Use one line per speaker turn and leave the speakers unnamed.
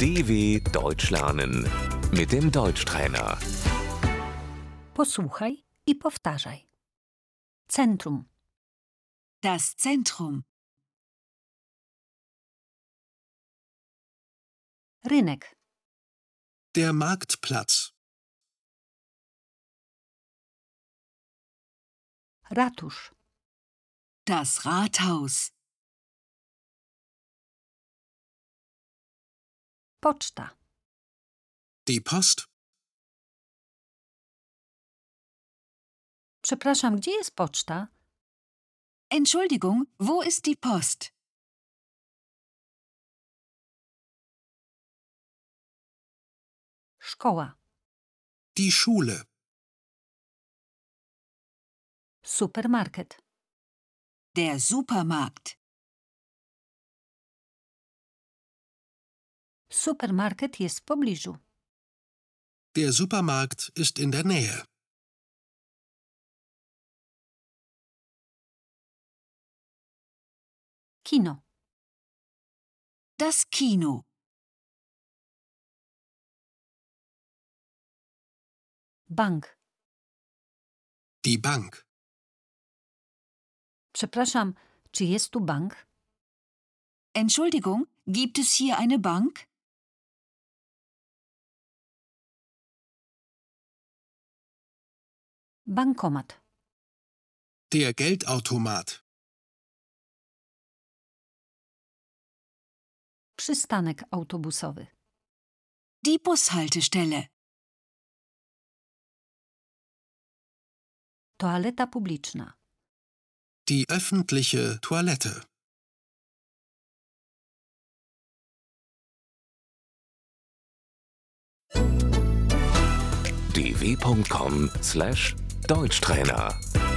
DW Deutsch lernen mit dem Deutschtrainer.
Posłuchaj i powtarzaj. Centrum,
Das Zentrum,
rynek,
Der Marktplatz,
ratusz,
das Rathaus,
poczta,
die Post,
Przepraszam, gdzie jest poczta?
Entschuldigung, wo ist die Post?
Szkoła,
die Schule,
supermarket,
Der Supermarkt,
supermarket jest w pobliżu,
der Supermarkt ist in der Nähe,
kino,
das Kino,
bank.
die Bank,
Przepraszam, czy jest tu bank?
Entschuldigung, gibt es hier eine Bank?
Bankomat,
der Geldautomat,
przystanek autobusowy,
Die Bushaltestelle,
toaleta publiczna,
die öffentliche Toilette,
dw.com/deutschtrainer